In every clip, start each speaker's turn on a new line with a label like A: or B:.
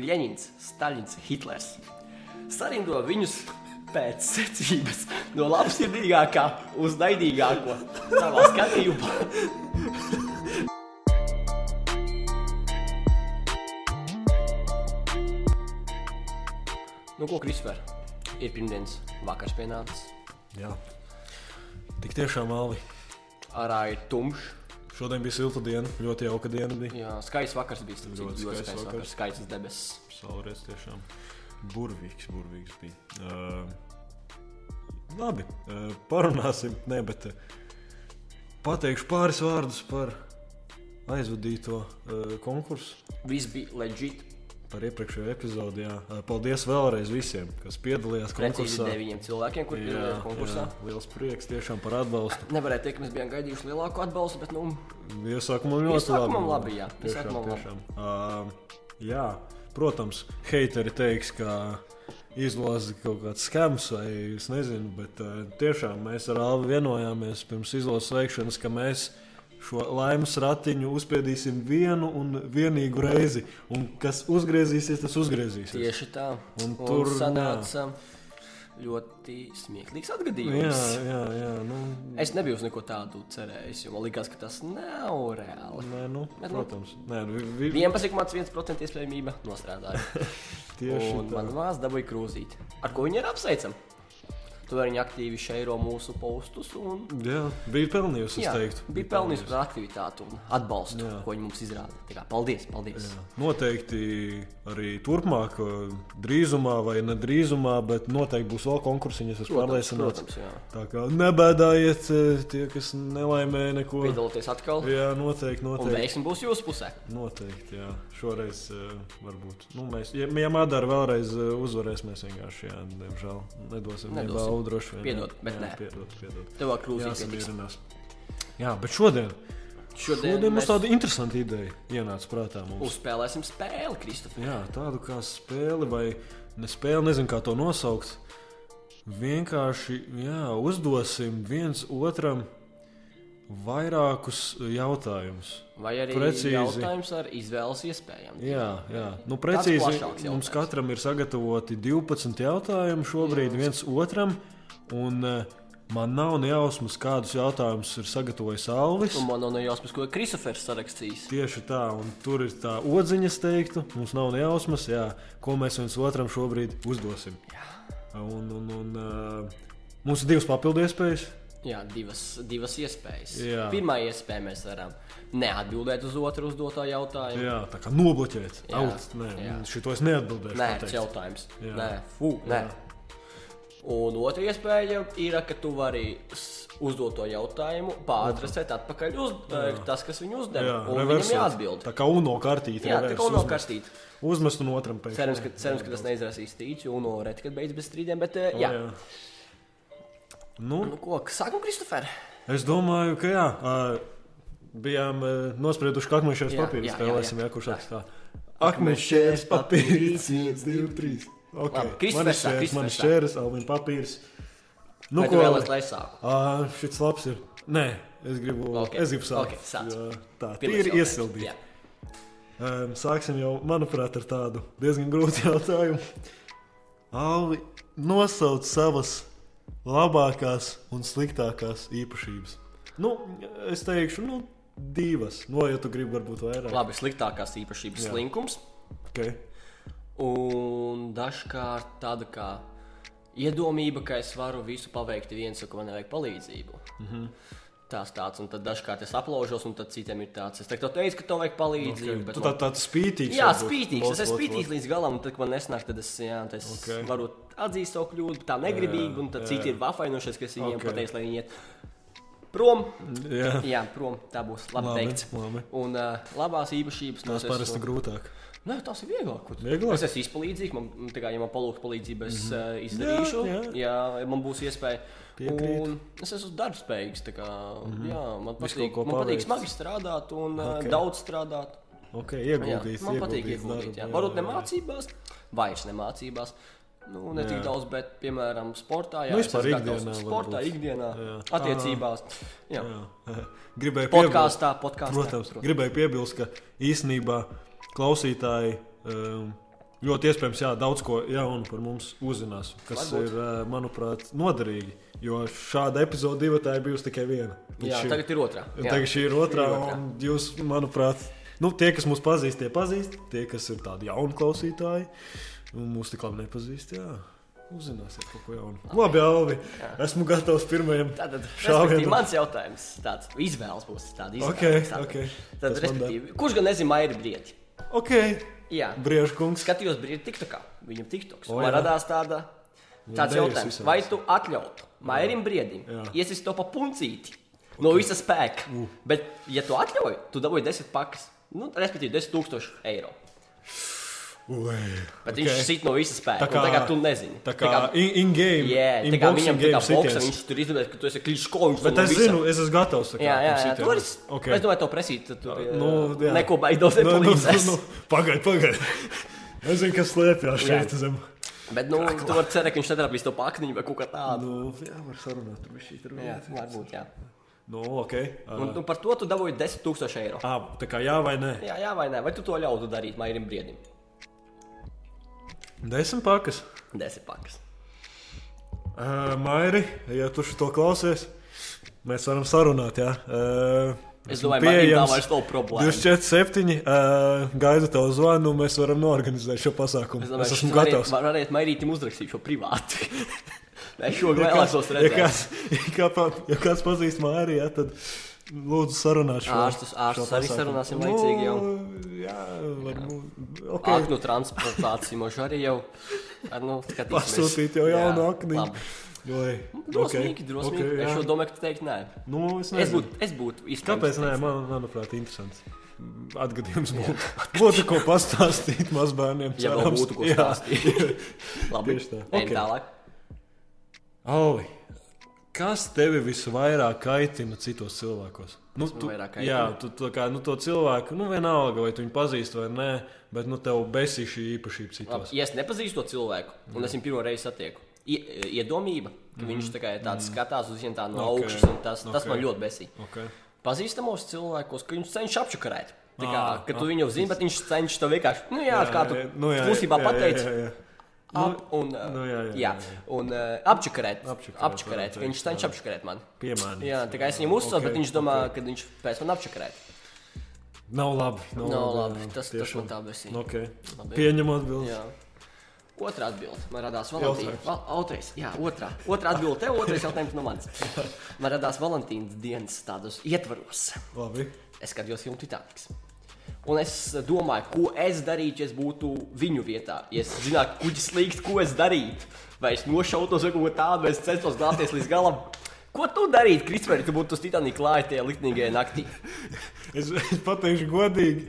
A: Ļeņins, Staļins, Hitlers. Sarindo viņus pēc secības no labsirdīgākā uz naidīgāko savā skatījumā. Nu, ko Kristofer? Ir pirmdienas vakars pienācis.
B: Jā. Tik tiešām malvi.
A: Arā ir tumšs.
B: Šodien bija silta diena, ļoti jauka diena. Bija.
A: Jā, skaists vakars bija. starp citu, Ļoti
B: Ļoti skaists
A: skaists
B: vakars.
A: vakars, skaists debesis.
B: Saulēs tiešām burvīgs, burvīgs bija. Uh, labi, uh, parunāsim, ne, bet uh, pateikšu pāris vārdus par aizvadīto uh, konkursu.
A: Viss bija leģit.
B: Par iepriekšējo epizodi. Jā. Ā, Paldies vēlreiz visiem, kas piedalījās
A: Precīzi
B: konkursā.
A: deviņiem cilvēkiem, kuriem bija konkursā.
B: jā, liels prieks tiešām par atbalstu.
A: Nevarēja teikt, ka mēs bijām gaidījuši lielāku atbalstu, bet nu,
B: Iesākumā ļoti
A: Iesākumam labi,
B: labi.
A: jā.
B: tiešām,
A: Iesākumam labi.
B: tiešām. Uh, jā, protams, heiteri teiks, ka izlozīs kaut kāds skams vai es nezinu, bet uh, tiešām mēs ar Alvu vienojāmies pirms izlozes veikšanas, ka mēs šo laimes ratiņu uzspiedīsim vienu un vienīgu reizi. Un kas uzgriezīsies, tas uzgriezīsies.
A: tieši tā.
B: Un tur, jā.
A: sanāca ļoti smieklīgs
B: Jā,
A: atgadījums.
B: jā, jā. Nu,
A: Es nebiju uz neko tādu cerējis, jo man likās, ka tas nav reāli.
B: nē, nu,
A: Bet, nu,
B: protams, nē, nu, vi, vi,
A: 11,1% iespējamība nostrādāja.
B: tieši
A: Un
B: tā.
A: man māsas dabūja krūzīt. Ar ko viņi ir apsveicami? Tu vari viņu aktīvi šeiro mūsu postus. Un...
B: Jā, bija pelnījusi, es
A: Jā,
B: teiktu.
A: bija pelnījis par aktivitāti un atbalstu, jā.
B: Jā.
A: ko viņi mums izrāda. Tā kā, paldies, paldies.
B: Jā. Noteikti arī turpmāk, eh, drīzumā vai ne drīzumā, bet noteikti būs vēl konkursiņas, es pārliecināts.
A: protams, jā.
B: Tā kā nebēdājiet eh, tie, kas nelaimē neko.
A: Piedalīties atkal. Jā.
B: Jā, noteikti,
A: Un
B: noteikti.
A: veiksmi būs jūsu pusē.
B: Noteikti, jā. Šoreiz eh, varbūt. Nu, mēs, ja, ja Madara vēlreiz eh, uzvarēs, mēs vienkārši, jā, diemžēl, nedosim viņai
A: Nedosim.
B: balvu droši vien.
A: Piedod, bet
B: jā,
A: nē.
B: Piedod, piedod.
A: Tev vēl
B: Jā,
A: krūzīt. pietiks.
B: samierinās. Jā, bet šodien,
A: Šodien,
B: šodien mums
A: mēs
B: tāda interesanta ideja ienāca prātā mums.
A: uzspēlēsim spēli, Kristof.
B: Jā, tādu kā spēli vai ne spēli, nezinu, kā to nosaukt. Vienkārši jā, uzdosim viens otram vairākus jautājumus.
A: Vai arī
B: Precīzi.
A: jautājums ar izvēles iespējām?
B: Jā, jā. Nu,
A: Tāds
B: precīzi
A: plašāks
B: mums
A: jautājums.
B: katram ir sagatavoti 12 jautājumi šobrīd viens otram. Un, eh, Man nav ne jausmas, kādus jautājumus ir sagatavojis Alvis.
A: Un man nav ne jausmas, ko ir Kristofers sarakstījis.
B: Tieši tā, un tur ir tā odziņa, es teiktu, mums nav ne jausmas, jā, ko mēs viens otram šobrīd uzdosim. Un, un, un, uh, mums ir divas papildu iespējas.
A: Jā, divas, divas iespējas.
B: Jā.
A: Pirmā iespēja mēs varam neatbildēt uz otru uzdotā jautājumu.
B: Jā, tā kā nobloķēt.
A: Jā,
B: Out, nē,
A: jā.
B: šito es neatbildēšu.
A: Nē,
B: tā
A: tas
B: teikt.
A: ir jautājums.
B: Jā.
A: Nē, fū, nē. Un otra iespēja ir, ka tu vari s- uzdot to jautājumu, pāradresēt atpakaļ uz jā. tas, kas viņu uzdeva.
B: Jā,
A: Un viņam
B: reversēt.
A: jāatbild.
B: Tā kā UNO kartīte.
A: Jā, tā
B: reverse
A: kā nav
B: uzmest.
A: karstīta.
B: Uzmest un otram pēc.
A: Cerams, ka, cerams, ka tas neizrasīs tīķi un no reti, kad beigs bez strīdiem. Bet, eh, jā, jā.
B: Nu,
A: Nu, ko sākam, Kristofer?
B: Es domāju, ka jā. Uh, bijām uh, nosprieduši, ka akmeņšķērs
A: Jā,
B: papīrs
A: jā, jā,
B: spēlēsim,
A: jā.
B: ja kurš sāks tā. Akmeņšķērs papīrs, 1, 2, 3.
A: Labi, Kristofers
B: Man
A: sāk,
B: ir šķērs, man ir
A: Kristofers sāk.
B: šķērs, alvin papīrs.
A: Nu,
B: Nu,
A: ko
B: ko?
A: vēlaties, lai es sāku?
B: Uh, šis labs ir. Nē, es gribu,
A: Ok,
B: okay. es gribu sākt.
A: ok, sāc.
B: Jo tā
A: Pirmais
B: ir
A: jautājums.
B: iesildīta.
A: Jā.
B: Um, sāksim jau, manuprāt, ar tādu diezgan grūtu jautājumu. Alvi, nosauc savas labākās un sliktākās īpašības. Nu, es teikšu, nu, divas. No, ja tu gribi, varbūt vairāk.
A: Labi, sliktākās īpašības
B: Jā.
A: slinkums.
B: Okay.
A: Un dažkārt tāda kā iedomība, ka es varu visu paveikt viens, un ka man nevajag palīdzību. Mm
B: Mhm.
A: -hmm. Tās tāds, un tad dažkārt es aplaužos, un tad citiem ir tāds, es teiktu, teicu, ka tev vajag palīdzību. Okay.
B: Tu tā, tāds spītīgs.
A: Jā,
B: varbūt.
A: spītīgs.
B: Vot,
A: Es esmu
B: vot,
A: spītīgs
B: vot.
A: līdz galam, un tad, kad man nesnāk, tad es, jā, tad es okay.
B: Ok.
A: varu atzīt savu kļūdu, tā negribīgi, un tad
B: jā.
A: citi ir vafainušies, ka es viņiem
B: Ok.
A: okay. pateicu, lai viņi iet prom.
B: Jā,
A: Jā, prom. Tā būs labi, labi.
B: Labi,
A: teikts.
B: labi.
A: Un uh, labās īpašības nu-
B: tas parasti grūtāk.
A: Nē, tas ir vieglāk. ko tu-
B: Vieglāk? Mhm.
A: Es esmu izpalīdzīgs, man, tā kā, ja man palūgs palīdzību, es mm -hmm. uh, izdarīšu. Jā,
B: Jā,
A: jā. jā, ja man būs iespēja.
B: Piekrītu.
A: Un es esmu darbspējīgs. tā Kā, mm -hmm. Jā, man
B: Mhm. Visu
A: patīk,
B: kaut ko
A: man patīk
B: paveic.
A: smagi strādāt un okay.
B: Ok.
A: daudz strādāt.
B: Ok,
A: Jā,
B: ieguldīts.
A: man patīk
B: darbu,
A: ieguldīt. jā.
B: jā,
A: Varbūt ne
B: jā, jā.
A: mācībās, vairs ne mācībās. Nu, ne tik
B: Jā.
A: daudz, bet, piemēram, sportā. Jā,
B: Nu,
A: es
B: vispār
A: esmu gatavs
B: ikdienā
A: Sportā,
B: varbūt.
A: ikdienā, jā.
B: Jā.
A: attiecībās. Jā. Jā.
B: Jā. Gribēju piebilst,
A: Podkāstā, podkāstā.
B: protams, gribēju piebilst, ka īsnībā klausītāji um, Ļoti iespējams, jā, daudz ko jaunu par mums uzzinās, kas
A: Varbūt.
B: ir, eh, manuprāt, noderīgi. Jo šāda epizode divi tā ir bijusi tikai viena. līdz
A: Jā,
B: šim.
A: tagad ir otrā.
B: Un Tagad šī ir otrā. un Jūs, manuprāt, nu, tie, kas mūs pazīst, tie pazīst. Tie, kas ir tādi jauni klausītāji, un mūs tik labi nepazīst, jā, uzzināsiet kaut ko jaunu. Labi, Alvi, esmu gatavs pirmajam
A: Tātad,
B: šāvienam.
A: respektīvi, mans jautājums tāds - izvēles būs tāda izvēle.
B: Ok,
A: tātad,
B: ok.
A: Tad,
B: Tas man der.
A: respektīvi, kurš gan nezina, vai ir brīdi?
B: Ok,
A: Jā,
B: briežkungs.
A: skatījos brīdi TikTokā, viņam TikToks.
B: O,
A: Oh, man
B: jā.
A: radās tāda, tāds
B: Idejas
A: jautājums,
B: visādas.
A: vai tu atļautu Mairim briedim
B: Jā.
A: iesist to pa puncīti no visa spēka? Bet, ja tu atļauj, tu dabūji 10 pakas, nu, respektīvi 10 tūkstoši eiro.
B: Ui,
A: Bet okay. viņš sit no visa spēka.
B: Tā
A: Tā kā,
B: kā-
A: tā kā tu nezini.
B: Tā kā in- in-game.
A: Jā,
B: in
A: tā kā viņam tā kā boksa,
B: sitiens.
A: viņš tur izdomāja, ka tu esi kliškovs.
B: Bet es zinu, es esmu gatavs. tā kā,
A: Jā, jā,
B: tam
A: jā.
B: sitienam.
A: Tur es, okay.
B: Ok.
A: es domāju, to prasīt. Tad tur
B: Nu, jā. Nu,
A: neko baidos. No, no, no, no.
B: Pagaid, pagaid. Es zinu, kas slēpjas šeit zem.
A: Bet, nu, tu vari cerēt, ka viņš tad apīs to pakniņu vai kaut kā tādu.
B: Ah, Nu, jā, var sarunāt, tur šī ir.
A: Jā, varbūt, jā.
B: Nu, ok.
A: Un
B: Uh,
A: nu, par to tu dabūji 10 000 eiro.
B: ā, tā kā jā vai nē?
A: Jā, jā, vai nē, vai tu to ļautu darīt Mairim Briedim?
B: Desmit pakas.
A: 10 pakas.
B: Uh, Mairi, ja tu šo klausies, mēs varam sarunāt, jā. Uh,
A: Es
B: esmu
A: domāju, Mairim tā
B: pieejams.
A: vairs nav problēma.
B: 24, 7. Uh, gaidu tavu zvanu, un mēs varam noorganizēt šo pasākumu.
A: Es domāju,
B: es
A: ka
B: esmu
A: tu vari-
B: gatavs.
A: Varētu Mairītim uzrakstīt šo privāti. Nē, šo
B: Ja kāds-
A: vēlētos
B: ja
A: redzēt.
B: kāds- Ja kā- ja kāds pazīst Mairi, jā, tad lūdzu sarunāt šo.
A: Ārstus- ārstus
B: šo
A: arī
B: pasākumu.
A: sarunāsim laicīgi jau.
B: Nu, jā, varbūt. Okay.
A: Aknu nu, transportācija mums arī jau ar, nu, skatīsimies.
B: Pasūtīt jau jaunu akni.
A: labi. Nu,
B: Lai,
A: Drosmīgi, drosmīgi. Okay, es
B: jā.
A: šo domāju, ka teikt, nē.
B: Nu, es
A: Es
B: nezinu.
A: būtu, es būtu
B: Kāpēc? Nē,
A: teikt.
B: man, manuprāt, interesants. Atgadījums būtu. Būtu ko pastāstīt mazbērniem.
A: Ja vēl
B: cerams.
A: būtu ko
B: Jā.
A: stāstīt. Labi,
B: Tieši tā.
A: Ejam
B: Ok.
A: tālāk.
B: Alvi, kas tevi visvairāk kaitina citos cilvēkos? Nu,
A: man
B: tu,
A: vairāk kaitina?
B: jā, tu tā kā, nu, to cilvēku, nu, vienalga, vai tu viņu pazīsti vai nē, bet nu, tev besī šī īpašība citos.
A: Labi, ja es nepazīstu to cilvēku, un es viņu pirmo reizi satieku, ie- e, iedomība, ka viņš tā kā ir tāds skatās uz viņiem tā no
B: Mhm. Ok,
A: augšas, un tas, tas
B: ok.
A: man ļoti besī.
B: Okay.
A: Pazīstamos cilvēkos, ka viņš cenšas apčakarēt. Tā kā,
B: Ā,
A: ka tu viņu zini, bet viņš cenšas to vienkārši, nu jā, kā tu klusībā
B: Ah, jā,
A: pateici,
B: jā, jā, jā.
A: ap, un, uh,
B: nu, jā, jā,
A: jā,
B: jā, jā.
A: un uh, apčakarēt.
B: Apčakarēt,
A: apčakarēt.
B: varētu teikt,
A: Viņš cenšas apčakarēt mani.
B: Piemēnīt.
A: Jā, tā kā es viņam uzsācu, okay, bet
B: Ok,
A: viņš domā, okay. ka viņš pēc man apčakarēt.
B: Nav labi. Nav,
A: Nav
B: jā,
A: labi,
B: jā,
A: tas, tas
B: Nu, tiešām. Nu,
A: man tā besī.
B: Okay.
A: Labi.
B: Pieņem atbildi.
A: Jā. Otra atbilde. Man radās Valentīna.
B: Jautājums.
A: Va, otrais, jā, otrā. Otra atbilde tev, otrais jautājums no manis. Man radās Valentīnas dienas tādos ietvaros.
B: Labi.
A: Es skatījos filmu Titaniks. Un es domāju, ko es darītu, ja es būtu viņu vietā. Ja es zinātu, kuģis slīkst, ko es darītu. Vai es nošautos vai kaut ko tādu, vai es centos glābties līdz galam. Ko tu darītu, Kristoferi, tu būtu uz Titanika klāja tajā liktenīgajā naktī?
B: Es, es pateikšu, godīgi,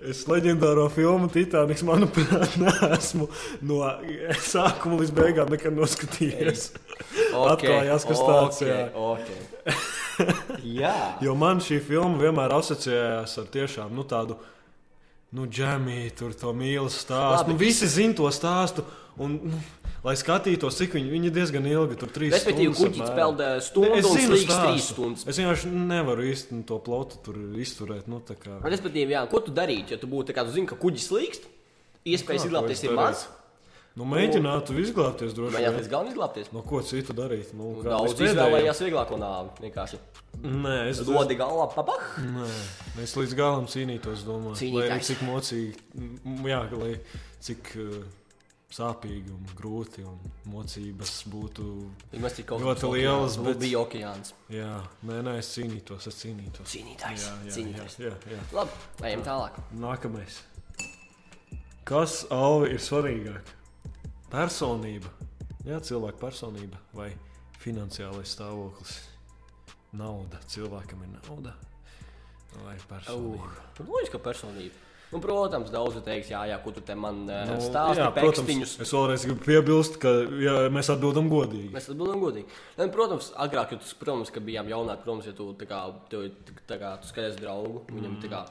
B: es leģendāro filmu Titaniks, manuprāt, neesmu no sākuma līdz beigām nekad noskatījies. Atklājās, kas tāds ir.
A: okay, okay. jā.
B: Jo man šī filma vienmēr asociējās ar tiešām nu, tādu. Nu, džemī, tur to mīlas stāstu.
A: Labi,
B: Nu, visi zina to stāstu. Un, nu, lai skatītos, cik viņi, viņi diezgan ilgi tur trīs
A: Respektīvi,
B: stundas
A: kuģis
B: apmēram.
A: peldē stundu
B: Es
A: un
B: zinu
A: slīkst
B: stāstu.
A: trīs stundas.
B: Es vienkārši nevaru īstenībā to plotu tur izturēt. Nu, tā kā...
A: Respektīvi, jā, ko tu darītu, ja tu būtu tāds, zini, ka kuģis slīkst, iespējas
B: Kā, ko es
A: izglābties ir
B: darītu?
A: maz,
B: Nu, mēģinātu izglābties droši
A: vai jāties
B: vien.
A: galvenais izglābties?
B: No ko citu darīt? Nu, kā
A: Daudz
B: mēs pēdējo-
A: izvēlējās vieglāko nāvi. Vienkārši
B: Nē, es domāju,
A: dodi galā, papah!
B: ka es līdz galam cīnītos. Domāju,
A: Cīnītājs.
B: lai cik mocīgi, m, jā, lai cik uh, sāpīgi un grūti un mocības būtu.
A: Mēs tik kaut
B: Ļoti lielas,
A: bet...
B: bet-
A: bija okeāns.
B: Jā, nē, nē, es cīnītos, es cīnītos.
A: Cīnītājs,
B: Jā, jā, jā,
A: cīnītājs.
B: jā, jā.
A: Labi, ejam tālāk.
B: Nākamais. Kas Alvi ir svarīgāk? Personība, jā, cilvēka personība vai finansiālais stāvoklis? Nauda, cilvēkam ir nauda. Vai personība?
A: Uh, Loģiski, ka personība. Nu, protams, daudzi teiks, jā, jā, ko tu te man nu,
B: Nu,
A: stāsti, pēkstiņus.
B: protams, es vēlreiz gribu piebilst, ka jā, mēs atbildam godīgi.
A: Mēs atbildam godīgi. Un, protams, agrāk, jo tas, protams, ka bijām jaunāki, protams, ja tu tā kā, tev, ir tik- tā kā tu skaties draugu, viņam tā kā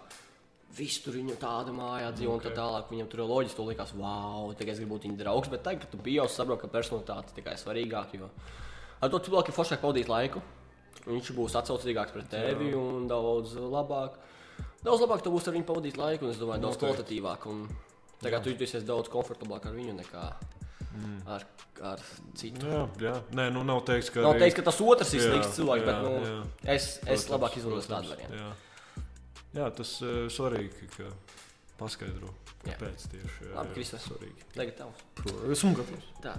A: viss tur viņa tāda mājā dzīvo okay. un tā tālāk, viņam tur loģiski to likās, wow, tagad es gribu būt viņa draugs, bet tagad, kad tu biji jau saproti, ka personalitāte tikai ir svarīgāka, jo ar to cilvēku ir foršāk pavadīt laiku, viņš būs atsaucīgāks pret tevi un daudz labāk. Daudz labāk tu būsi ar viņu pavadīt laiku, un es domāju, daudz kvalitatīvāk. Un Tagad tu jutīsies daudz komfortablāk ar viņu nekā ar, ar citu.
B: Jā, jā. Nē, nu nav teiks, ka.
A: Nav
B: arī-
A: teiks, ka tas otrs ir
B: Jā,
A: slikts cilvēks, bet
B: jā,
A: nu,
B: jā.
A: es, es
B: Protams,
A: labāk izvēlos
B: protams,
A: tādu variantu.
B: Jā. jā, tas ir svarīgi, ka paskaidro,
A: Jā.
B: kāpēc tieši jā,
A: Labi,
B: jā,
A: Kristof.
B: svarīgi.
A: Tagad tavs.
B: Pro- Esmu gatavs.
A: Tā.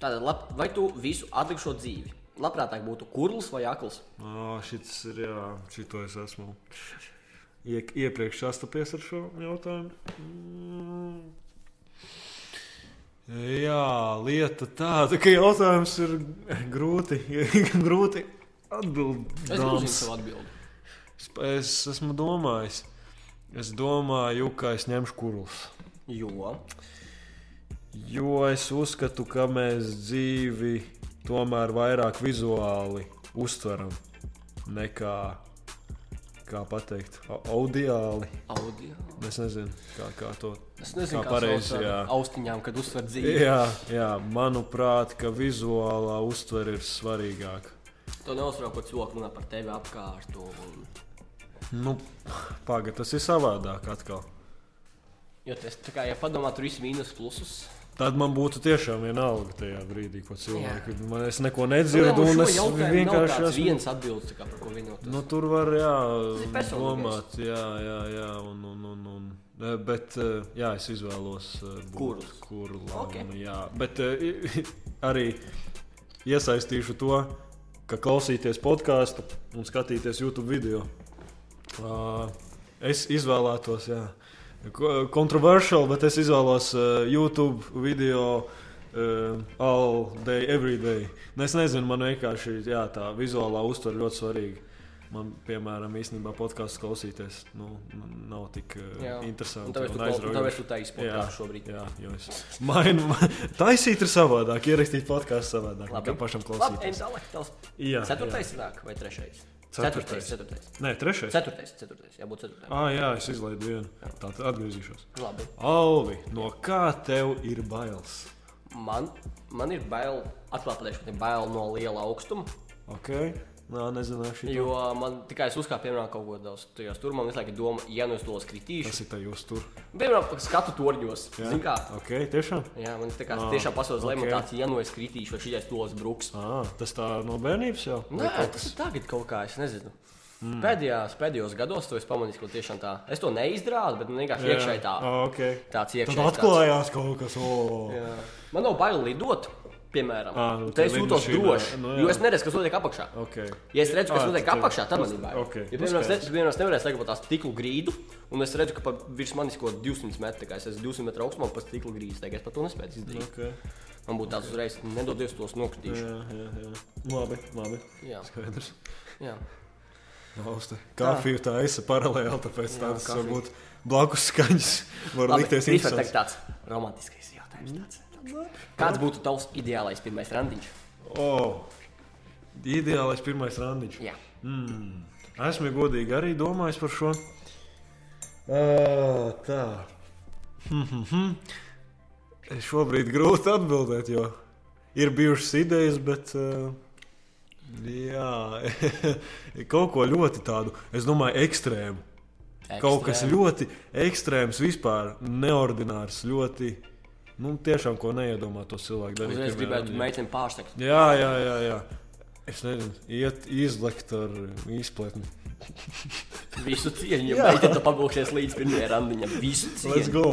A: Tātad, lab, vai tu visu atlikušo dzīvi labprātāk būtu kurls vai akls?
B: Ā, Šis ir, jā, šito es esmu. Iek, iepriekš sastapies ar šo jautājumu. Mm. Jā, lieta tāda, ka jautājums ir grūti, grūti
A: Es gribēju
B: atbildēt.
A: savu atbildību.
B: Es, es esmu domājis, es domāju, ka es ņemšu kurus.
A: Jo
B: Jo es uzskatu, ka mēs dzīvi tomēr vairāk vizuāli uztveram nekā, kā pateikt, au- audiāli.
A: audio.
B: Es nezinu, kā, kā to.
A: Es nezinu,
B: Kā
A: kā
B: pareizi,
A: pareizi
B: jā.
A: austiņām, kad uzsver dzīvi.
B: Jā, jā, manuprāt, ka vizuālā uztvere ir svarīgāka.
A: Tu neuzsver kaut ko cilvēku, runā par tevi apkārt. Un...
B: Nu, Pagaidiet, tas ir savādāk atkal.
A: Jo tas, tā kā, ja padomā, tur viss mīnus plusus.
B: Tad man būtu tiešām vienalga tajā brīdī, ko cilvēki. Man es neko
A: Problēma
B: nedzirdu,
A: ar
B: un
A: Nu, šo
B: es
A: jautājumu nav
B: vienkārši
A: tāds
B: esmu
A: viens atbildes, kā, par ko vienoties.
B: Nu, tur var jā,
A: Tas ir personīgais.
B: domāt, jā, jā, jā un, un, un, un. Eh, Bet eh, jā, es izvēlos e,
A: Kurus?
B: kurlu.
A: Ok.
B: Bet eh, i- arī iesaistīšu to, ka klausīties podkāstu un skatīties YouTube video. Ā, Es izvēlētos, jā, ko- controversial, bet es izvēlos eh, YouTube video. Uh, all day, every day. Nu, Es nezinu, man vienkārši jā, tā vizuālā uztvere ļoti svarīga. Man, piemēram, īstenībā podkāstu klausīties nu, n- nav tik uh,
A: Jā. Un
B: interesanti.
A: tāpēc tu
B: un
A: klau-
B: aizraujoši.
A: tāpēc tu taisi podkāstu šobrīd.
B: Jā, jo es mainu. Taisīt ir savādāk, ierakstīt podkāstu savādāk.
A: Labi.
B: Labi, kā pašam
A: Labi, ejam
B: klausīties.
A: tālāk. Tavs.
B: Jā,
A: Ceturtais nāk vai trešais?
B: Ceturtais.
A: Ceturtais.
B: jā. Nē, trešais.
A: Ceturtais. Ceturtais. Jā, būtu ceturtais.
B: Ah, jā, es izlaidu vienu. Tā tad atgriezīšos.
A: Labi.
B: Alvi, no kā tev ir bailes?
A: Man, man ir bail, atklāti pateikšu, man ir bail no liela augstuma.
B: Ok, nē, nezināšu.
A: Jo man tikai es uzkāpu, piemēram, kaut ko daudz. Tajos tur man visu laiku ir doma, ja nu es tos kritīšu.
B: Tas ir tajos tur.
A: Piemēram, skatu torņos.
B: Jā.
A: Zini kā?
B: Ok, tiešām.
A: Jā, man tā kā tiešām pasaules
B: ok.
A: okay. līmenī tāds, ja nu es kritīšu, vai šitais tos bruks.
B: Ah, tas tā no bērnības jau?
A: Nē, tas ir tagad kaut kā, es nezinu. Mm. Pēdējās, pēdējos gados to es pamanīju, ka tiešām tā. Es to neizdarīju, bet nu, vienkārši iekšēji tā.
B: Ah, ok.
A: Tāds
B: Tad
A: iekšēji.
B: atklājās kaut kas tāds.
A: Jā. Man nav bail lidot, piemēram,
B: Ā, nu,
A: tā
B: tā
A: es jūtos
B: lidmašīnā,
A: droši.
B: nu
A: Nu,
B: jā.
A: jo es neredzu, kas notiek apakšā.
B: Okay.
A: Ja es redzu,
B: Ā,
A: kas
B: tad
A: notiek
B: tev-
A: apakšā, tad man ir
B: tas-
A: bail.
B: ok,
A: Ja, piemēram, es
B: skaidrs.
A: redzu, piemēram, es nevarēju slēgt tās stikla grīdu, un es redzu, ka pa virs manis kaut kāds 200 metru, tā kā es esmu 200 metru augstumā, pa stikla grīdu, tagad es pat to nespēju izdarīt.
B: Okay.
A: Man būtu tāds uzreiz, nedodies tos nokritīšu.
B: Jā, jā, jā. Labi, labi.
A: Jā,
B: Skaidrs.
A: jā.
B: Austi. Kafiju tā esi paralēli, tāpēc
A: Jā,
B: tādas
A: kafiju.
B: varbūt blakus skaņas var
A: Labi,
B: likties Mm,
A: vispār tagad
B: interesantas.
A: tāds romantiskais jautājums. Tāds. Kāds būtu tavs ideālais pirmais randiņš?
B: O, ideālais pirmais randiņš.
A: Jā,
B: Mm. Esmu godīgi arī domājis par šo. Uh, tā. Hmm, hmm, hmm. Es Šobrīd grūti atbildēt, jo ir bijušas idejas, bet. Uh, jā, kaut ko ļoti tādu, es domāju, ekstrēmu. Kaut kas
A: Ekstrēmi.
B: ļoti ekstrēms, vispār neordinārs, ļoti. Nu, tiešām, ko neiedomā to cilvēku darīt.
A: Uzreiz
B: piemēram,
A: gribētu
B: ja-
A: meiteni pārsteigt.
B: Jā, jā, jā. jā. Es nezinu, iet izlekt ar izpletni.
A: Visu cieņu, ja
B: Jā.
A: meitene tu pavilksies līdz pirmajai randiņam. Visu
B: Let's
A: cieņu.
B: go!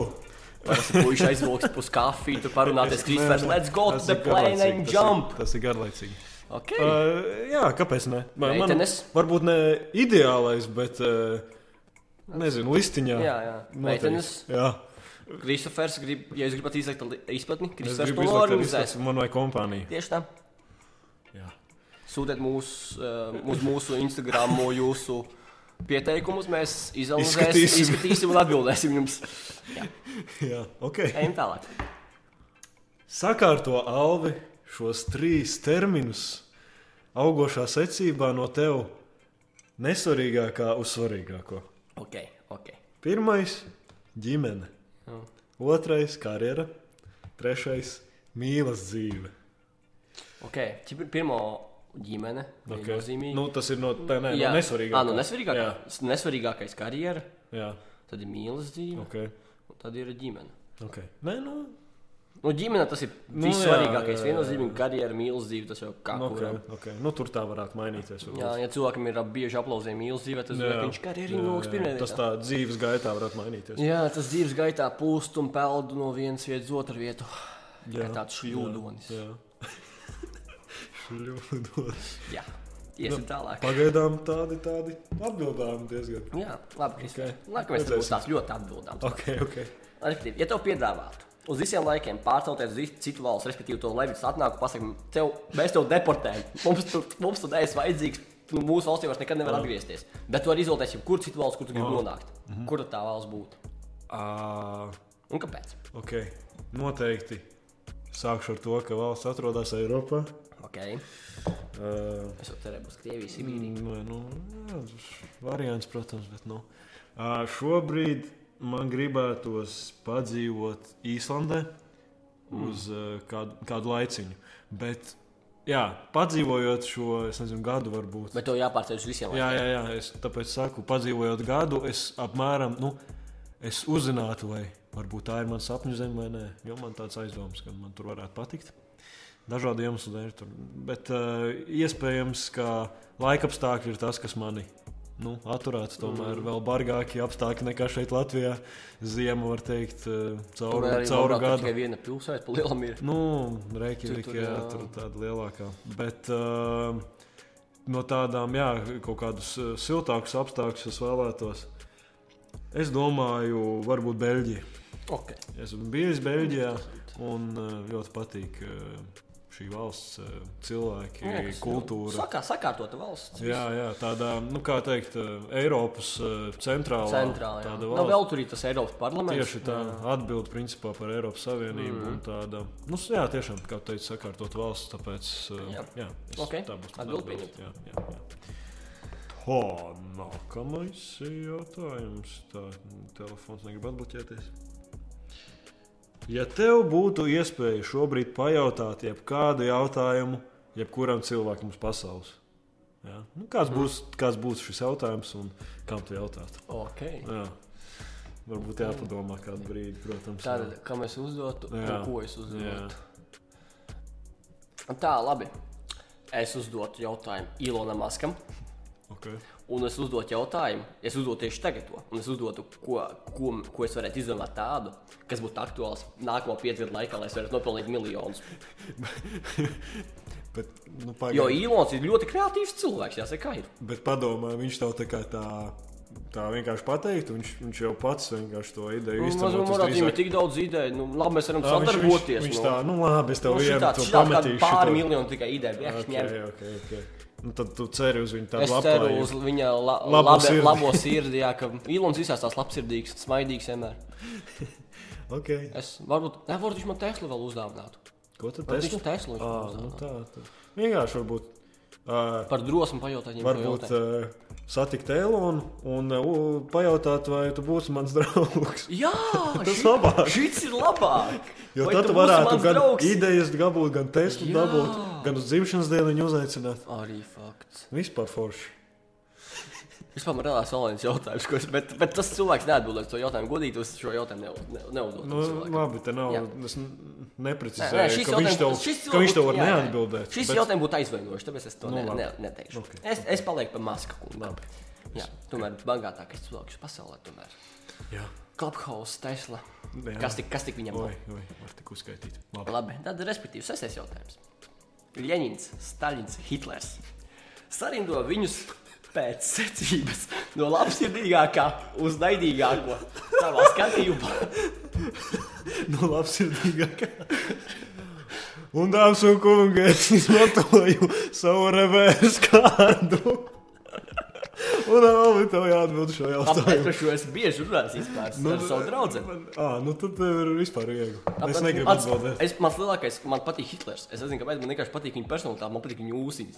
A: Tas puiši aizvilks pus kafiju, tur parunāties
B: Es-
A: Kristofers,
B: nē, nē,
A: let's go to
B: tas
A: the
B: ir
A: plane
B: garlaicīgi,
A: and
B: tas ir-
A: jump.
B: Tas ir garlaicīgi.
A: Ok.
B: Uh, jā, kāpēc ne? Man, man,
A: Meitenes?
B: varbūt ne ideālais, bet uh, nezinu, listiņā.
A: Jā, jā.
B: Noteikti.
A: Meitenes?
B: Jā.
A: Kristofers, grib, ja jūs gribat izlikt izpratni,
B: Es
A: Kristofers
B: gribu
A: to
B: izlekt ar
A: organizēs.
B: izpletni man vai kompāniju.
A: Tieši tā.
B: Jā.
A: Sūtiet mūs, eh, uz mūsu Instagram jūsu pieteikumus, mēs izanalizēsim,
B: Izskatīsim.
A: izskatīsim un atbildēsim jums.
B: jā, ok.
A: Ejam tālāk.
B: Sakārto Alvi šos trīs terminus augošā secībā no tev nesvarīgākā uz svarīgāko.
A: Ok, ok.
B: Pirmais - ģimene.
A: Jā.
B: Otrais - karjera. Trešais - mīlas dzīve.
A: Ok, ķip- pirmo ģimene.
B: Okay.
A: Okay.
B: Nu, tas ir no tā, nē, no nesvarīgākā.
A: Ah, nu,
B: Jā,
A: nesvarīgākais. Nesvarīgākais karjera,
B: jā. Nu.
A: tad ir mīlestība,
B: Okay.
A: un tad ir ģimene.
B: Okay. Nē, nu,
A: Nu, ģimene tas ir
B: Nu, jā,
A: vissvarīgākais.
B: jā, jā,
A: Viennozīmīgi karjeras mīlestība, tas jau kā
B: nu,
A: kuram.
B: okay, okay. nu tur tā varētu mainīties. varbūt.
A: Jā, ja cilvēkam ir ap- bieži aplausījumi mīlestība, tad
B: Jā.
A: viņš karjeras
B: Jā,
A: nolūks
B: jā.
A: pirmajā.
B: Tas
A: vietā.
B: tā dzīves gaitā varētu mainīties.
A: Jā, tas dzīves gaitā pūst un peld no vienas vietas uz otru vietu.
B: Jā,
A: kā tāds šļūdonis.
B: Jā. Šļūdonis.
A: Jā, iesim
B: Nu,
A: tālāk.
B: Pagaidām tādi, tādi atbildām diezgan.
A: Jā, labi, Kristija.
B: Ok.
A: Okay. Nākamais būs
B: Redzēsim.
A: tāds ļoti atbildams.
B: Ok, ok.
A: Respektīvi, ja tev piedāvātu uz visiem laikiem pārcelties uz citu valsts, respektīvi, to Levis atnāk un pasakā, tev mēs tev deportējam. Mums tur mums tur neesmu vajadzīgs. Tu mūsu valstī vairs nekad nevar atgriezties. Bet tu vari izvēlēties, kur citu valsts, kur tu gribi nonākt.
B: Mhm.
A: Kur tad tā valsts būtu?
B: À,
A: Un kāpēc?
B: ok, noteikti. Sākšu ar to, ka valsts atrodas Eiropā.
A: Okay.
B: Uh,
A: Es jau cerēju, būs Krievija, Sibīrija.
B: Nē, nu, jā, variants, protams, bet nu. Ā, Šobrīd man gribētos padzīvot Īslandē uz ā, kādu, kādu laiciņu. Bet, jā, padzīvojot šo es nezinu, gadu, varbūt.
A: Bet tev jāpārceļ uz visiem
B: Mhm. Jā,
A: laikiem.
B: jā, jā, es tāpēc saku, padzīvojot gadu, es apmēram, nu, es uzzinātu, vai varbūt tā ir mana sapņu zeme vai nē. Jo man tāds aizdoms, ka man tur varētu patikt. Dažādu iemeslu dēļ, tur. bet uh, iespējams, ka laika apstākļi ir tas, kas mani nu, atturētu.
A: Mm.
B: Tomēr vēl bargākie apstākļi nekā šeit Latvijā. Ziema var teikt, uh,
A: Tur
B: cauri,
A: arī
B: cauri
A: Latvijā
B: gadu.
A: tikai viena pilsēta, pa lielam ir.
B: Nu, Reikjavika,
A: Tur, tur,
B: jā,
A: jā.
B: tur tāda lielākā. Bet uh, no tādām, jā, kaut kādus uh, siltākus apstākļus es vēlētos. Es domāju, varbūt Beļģija.
A: Okay.
B: Esmu bijis Beļģijā un uh, ļoti patīk uh, šī valsts uh, cilvēki,
A: Liekas, nu,
B: kultūra.
A: Sakā, sakārtota valsts.
B: Jā, jā, tādā, nu, kā teikt, uh, Eiropas uh, centrālā,
A: Centrālā. jā.
B: tāda
A: Nu,
B: valsts.
A: vēl tur ir tas Eiropas parlaments.
B: Tieši tā atbilde principā par Eiropas Savienību. Mm. Tāda, nu, s- jā, tiešām, kā teica, sakārtot valsts, tāpēc uh,
A: Jā.
B: jā, es,
A: Ok,
B: tā būs
A: atbildi pieņemta.
B: Jā, jā, jā. Ho, nākamais jautājums. Tā telefons negrib atbloķēties. Ja tev būtu iespēja šobrīd pajautāt jebkādu jautājumu, jebkuram cilvēkam uz pasaules, jā, nu, kāds,
A: Mhm.
B: būs, kāds būs šis jautājums un kam tu jautātu?
A: Okay.
B: Jā. Varbūt jāpadomā kādu brīdi, protams.
A: Tātad, kam es uzdotu,
B: Jā.
A: un ko es
B: jā. Jā.
A: uzdotu? Tā, labi. Es uzdotu jautājumu Ilonam Maskam,
B: Okay.
A: un es uzdotu jautājumu, es uzdotu tieši tagad to, un es uzdotu, ko, ko, ko es varētu izdomāt tādu, kas būtu aktuāls nākamo piecu gadu laikā, lai es varētu nopelnīt miljonus.
B: Bet,
A: Jo
B: nu, pagaid,
A: Ilons ir ļoti kreatīvs cilvēks, jāsaka, kā ir.
B: bet padomā, viņš tev tā kā tā, tā vienkārši pateikt, viņš, viņš jau pats vienkārši to ideju
A: Mums
B: izteica.
A: ir Nu, tik daudz ideju, nu, labi, mēs varam sadarboties.
B: Viņš, viņš
A: nu.
B: tā, nu labi, es tev
A: Nu,
B: vienu
A: šitāds-
B: to
A: šitāds kādi
B: pametīšu.
A: Pāri
B: šito.
A: miljonu tikai ideja. Jā,
B: Ok,
A: ņem.
B: ok, ok. Nu, tad tu ceri uz viņu tādu
A: Es ceru uz
B: labklājību.
A: viņa la
B: Labo
A: labo,
B: sirdi.
A: sirdi. labo sirdi, jā, ka Ilons visās tās labsirdīgs, smaidīgs vienmēr.
B: Okay.
A: Es varbūt, ne, varbūt viņš man Teslu vēl uzdāvinātu.
B: Ko tad
A: Varbūt
B: es?
A: viņš Teslu viņš man
B: Ah, nu
A: uzdāvinātu.
B: tā, tad. Vienkārši varbūt. Uh,
A: Par drosmi pajautāt viņam.
B: Varbūt
A: ko jautāt.
B: uh, satikt Elonu un uh, pajautāt, vai tu būsi mans draugs.
A: Jā,
B: eh, Tas
A: šī-
B: labāk.
A: Šis ir labāk.
B: Jo
A: Vai
B: Vai tad tu
A: būsi
B: varētu
A: mans
B: gan
A: draugs?
B: idejas dabūt, gan testu
A: Jā.
B: dabūt, gan uz dzimšanas dienu viņu uzaicināt.
A: Arī fakts.
B: Vispār forši.
A: Vispār man radās vēl viens jautājums, ko es, bet, bet tas cilvēks neatbildēs to jautājumu. Godīgi, es šo jautājumu ne, ne, neuzdodu.
B: Nu, labi, te nav. Jā.
A: Jā.
B: Es n-
A: Nē, nē,
B: neprecizēju,
A: šis
B: ka viņš
A: jautājums-
B: tev,
A: šis
B: ka viņš tev
A: varbūt-
B: var
A: jā, jā.
B: neatbildēt.
A: Šis bet... jautājums būtu aizvainojošs, tāpēc es to
B: Nu,
A: nu, ne,
B: labi.
A: ne, neteikšu.
B: Ok,
A: Okay. Es, es palieku pie maska kungam.
B: Labi.
A: Jā, tomēr bagātākais cilvēks pasaulē. Tomēr.
B: Jā.
A: Clubhouse, Tesla.
B: Jā.
A: Kas tik, kas tik viņam
B: Oi,
A: ir?
B: oi, var tik uzskaitīt. Labi.
A: Labi, tad respektīvi sestais jautājums. Ļeņins, Staļins, Hitlers. Sarindo viņus pēc secības no labsirdīgākā uz naidīgāko savā skatījumā.
B: Nu, labsirdīgāk. Un, dāmas un kungi, es izmantoju savu reversu kārdu. Un vēl bija tev jāatbild šo
A: Tāpēc
B: jautājumu.
A: par šo es bieži runāju vispār
B: Nu,
A: ar savu draugu.
B: À, nu tad tev ir vispār viegli.
A: Tāpēc
B: Es negribu
A: mans-
B: atbildēt.
A: Es mans lielākais, man patīk Hitlers. Es nezinu, kāpēc man vienkārši patīk viņa personalitāte, man patīk viņa ūsīs.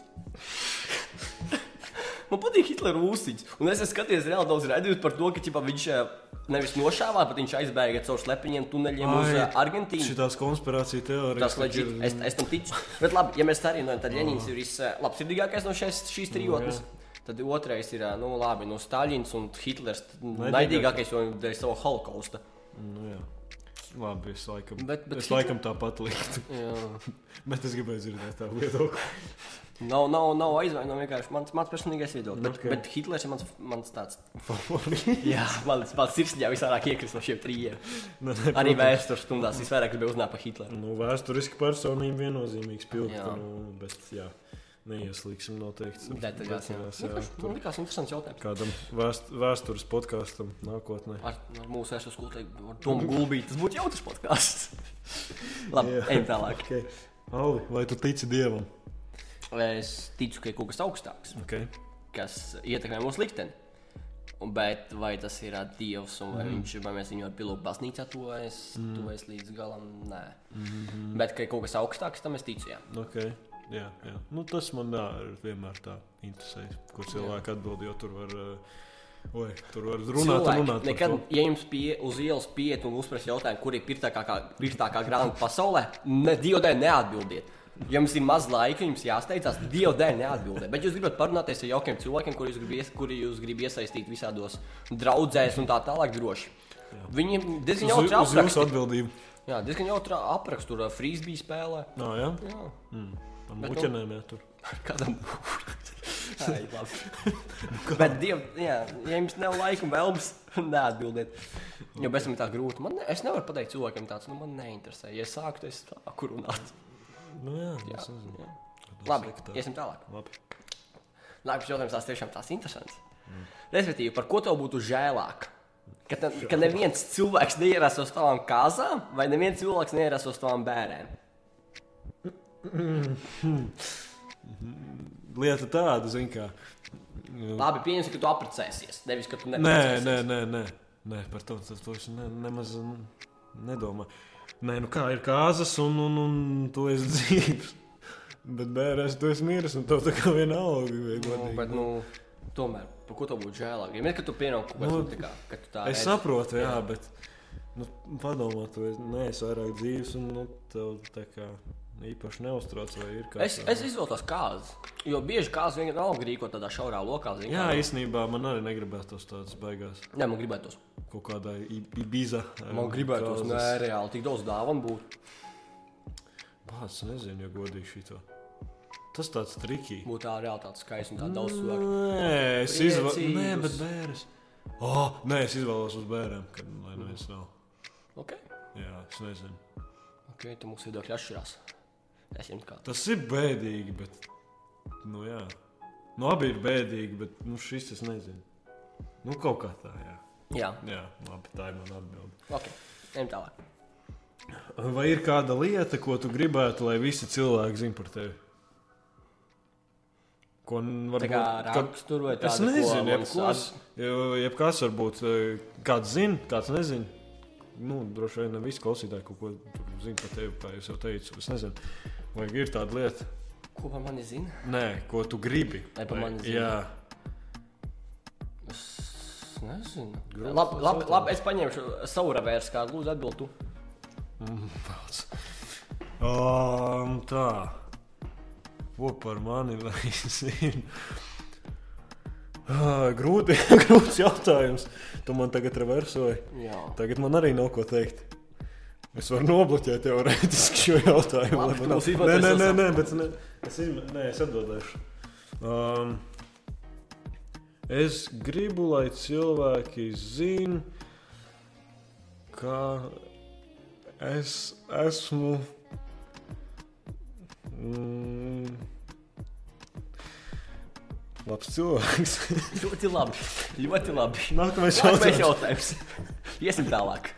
A: Man patīk Hitlera ūsīs. Un es esmu skatījies reāli daudz redzējumu par to, ka ķipa, viņš eh, nevis nošāvā, bet viņš aizbēga caur slepeņiem tuneļiem Ai, uz eh, Argentīnu.
B: Šitās konspirācija teorijas.
A: Tas leģitīvi, es, es tam ticu. Bet labi, ja mēs tā arī
B: Oh.
A: runājam, tad Lenins ir vislabākais no šīs, šīs trijotnes. Tad otrais ir, eh, nu, labi, no Staļins un Hitlers.
B: Naidīgākais.
A: Naidīgākais jau dēļ sava holokausta.
B: Nu, jā. Labi, es laikam,
A: Bet- bet
B: es
A: Hitler-
B: laikam tāpat liktu.
A: Jā.
B: Bet es gribēju dzirdēt tādu viedokli.
A: Nav, nav, nav aizvainojums, vienkārši mans, mans personīgais viedoklis. Bet,
B: Ok.
A: bet Hitlers ir mans, mans tāds
B: Favori.
A: Jā, man tas sirdsņā visvairāk iekrist no šiem trījiem.
B: Nē, nē,
A: Arī
B: Nu, protams.
A: vēstures stundās visvairāk gribēju uzzināt par Hitleru.
B: Nu, vēsturiski personīgi viennozīmīgs
A: Jā.
B: pilns, nu, bet jā, neieslīgsim noteikti.
A: Detaļās, jā.
B: Nu, Detaļās, jā,
A: Likās-
B: tur
A: Man liekas, interesants jautājums.
B: Kādam vēst, vēstures podkāstam nākotnē.
A: Ar, ar mūsu vēstures kultūru, ar domu gulbīt, tas būtu jautrs podkāsts. Labi,
B: Jā.
A: ejam tālāk.
B: Okay. Alvi, vai tu tici dievam?
A: Es ticu, ka ir kaut kas augstāks,
B: Okay.
A: kas ietekmē mūsu likteni. Un, Bet vai tas ir ā, dievs, un vai,
B: Mhm.
A: mm. viņš, vai mēs viņu ar pilnu baznīcu tuvojamies mm. līdz galam? Nē, mm
B: Mhm.
A: -hmm. bet ka ir kaut kas augstāks, tam es ticu. Jā.
B: Okay. Jā, jā. Nu, tas man jā, ir vienmēr tā interesējis, ko cilvēki atbild. Jo tur var, eh, oi, tur var runāt,
A: Cilvēki
B: runāt. par
A: Nekad,
B: to.
A: ja jums pie, uz ielas pieiet un uzprasa jautājumu, kur ir pirtākā, pirtākā grāmata pasaulē, ne, Dieva dēļ neatbildiet. Ja jums ir maz laika, jums jāsteidzas, Dieva dēļ neatbildiet. Bet jūs gribat parunāties ar jaukiem cilvēkiem, kuriem jūs gribat kuri jūs grib iesaistīt visādos draugzēs un tā tālāk droši. Viņiem diezgan
B: Uz,
A: jautri
B: uz jūsu
A: apraksta.
B: atbildību.
A: Jā, diezgan jautri apraksta, tur frīzbija spēlē.
B: Nā, jā,
A: Jā,
B: Ar
A: Bet nu-
B: muķenēm, jā, tur.
A: kādam. Ai, labi. Bet, diev, jā, ja jums nav laika un vēlmes, neatbildiet. Jo bez tam ir tā grūti. Man, ne- es nevaru pateikt cilvēkam, tāds nu, man neinteresē. Ja es sāku, tad es sāku runāt.
B: Nu, jā,
A: Jā,
B: es nezinu.
A: jā.
B: Kādā
A: Labi,
B: sliktā.
A: iesim tālāk.
B: Labi.
A: Nākamais jautājums tās tiešām tās interesants. Respektīvi, par ko tev būtu žēlāk? Ka, te, ka neviens cilvēks neierastos uz tavām kāzām, vai neviens cilvēks neierastos uz tavām bērniem?
B: Lieta tāda, zin kā. jā.
A: Labi, pieņemsim, ka tu apprecēsies. Nevis, ka tu
B: Nē,
A: neprecēsies.
B: nē, nē, nē. nē par to tas to es ne, nemaz n- nedomāju. Nē, nu kā ir kāzas, un, un, un tu esi dzīves. Bet bērns, tu esi miris, un tev tā kā vienalga. vai
A: Nu,
B: godīgi.
A: bet, nu, tomēr, par ko tev būtu žēlāk? Ja mēs, kad tu pienāc kaut
B: Nu,
A: ko tādu, ka tu tā
B: Es
A: redzi.
B: saprotu, jā, bet nu, padomā, tu esi- neesi vairāk dzīves, un nu, tev tā kā īpaši neuztrauc, vai ir kāds.
A: Es, es izvēlos kāzas, jo bieži kāzas vienkārši nav grīko tādā šaurā lokā. zini,
B: Jā,
A: kā-
B: īstenībā man arī negribētos tādas baigās
A: Nē, man gribētos.
B: kaut kādā i- ibiza. eh,
A: Man gribētos,
B: kāzas.
A: nē, reāli tik daudz dāvanu būtu.
B: Pats nezinu, ja godīgi šito. Tas tāds trikīgi.
A: Būtu tā reāli tāds skaists un tā daudz
B: Mm.
A: svarīgs.
B: Nē, es izvēlos. Nē,
A: Priecīgus.
B: bet bērns. Oh, nē, es izvēlos uz bērniem, kad lai neviens nav.
A: Ok,
B: Jā, es nezinu.
A: ok, tu mums viedokļi atšķirās. Es jums kā.
B: Tas ir bēdīgi, bet. Nu, jā. Nu, abi ir bēdīgi, bet nu, šis es nezinu. Nu, kaut kā tā, jā.
A: Jā,
B: Jā, labi, tā ir mana atbilde.
A: ok, ejam tālāk.
B: Vai ir kāda lieta, ko tu gribētu, lai visi cilvēki zinātu par tevi? Ko n-
A: Tā
B: varbūt.
A: kā
B: ka-
A: raksturu vai
B: Es
A: tādu.
B: nezinu, jebkas, jebkas varbūt eh, kāds zina, kāds nezina. Nu, droši vien ne visi klausītāji kaut ko tur zina par tevi, kā jūs jau teicāt. Es nezinu, vai ir tāda lieta,
A: Ko par mani zina?
B: Nē, ko tu gribi.
A: Lai par mani zina.
B: Jā,
A: Es nezinu.
B: Grūts
A: Labi, labi,
B: jautājums.
A: labi, es paņemšu savu reversu kādu. Lūdzu, atbild tu.
B: tāds. Um, tā. Ko par mani vai zina? Ah, Grūti, grūts jautājums. Tu man tagad reversoji.
A: Jā.
B: Tagad man arī nav ko teikt. Es varu nobloķēt teorētiski šo jautājumu.
A: Labi,
B: lai
A: tu
B: man nav-
A: mums
B: nē,
A: izmantosi
B: nē, nē,
A: savu-
B: nē, bet ne, es, izm... nē, es atbildēšu. Um, es gribu, lai cilvēki zinātu, ka es esmu. Mm, labs cilvēks.
A: Ļoti labi. Ļoti labi.
B: Nākamais
A: Nākamais
B: jautājums.
A: jautājums. Iesim tālāk.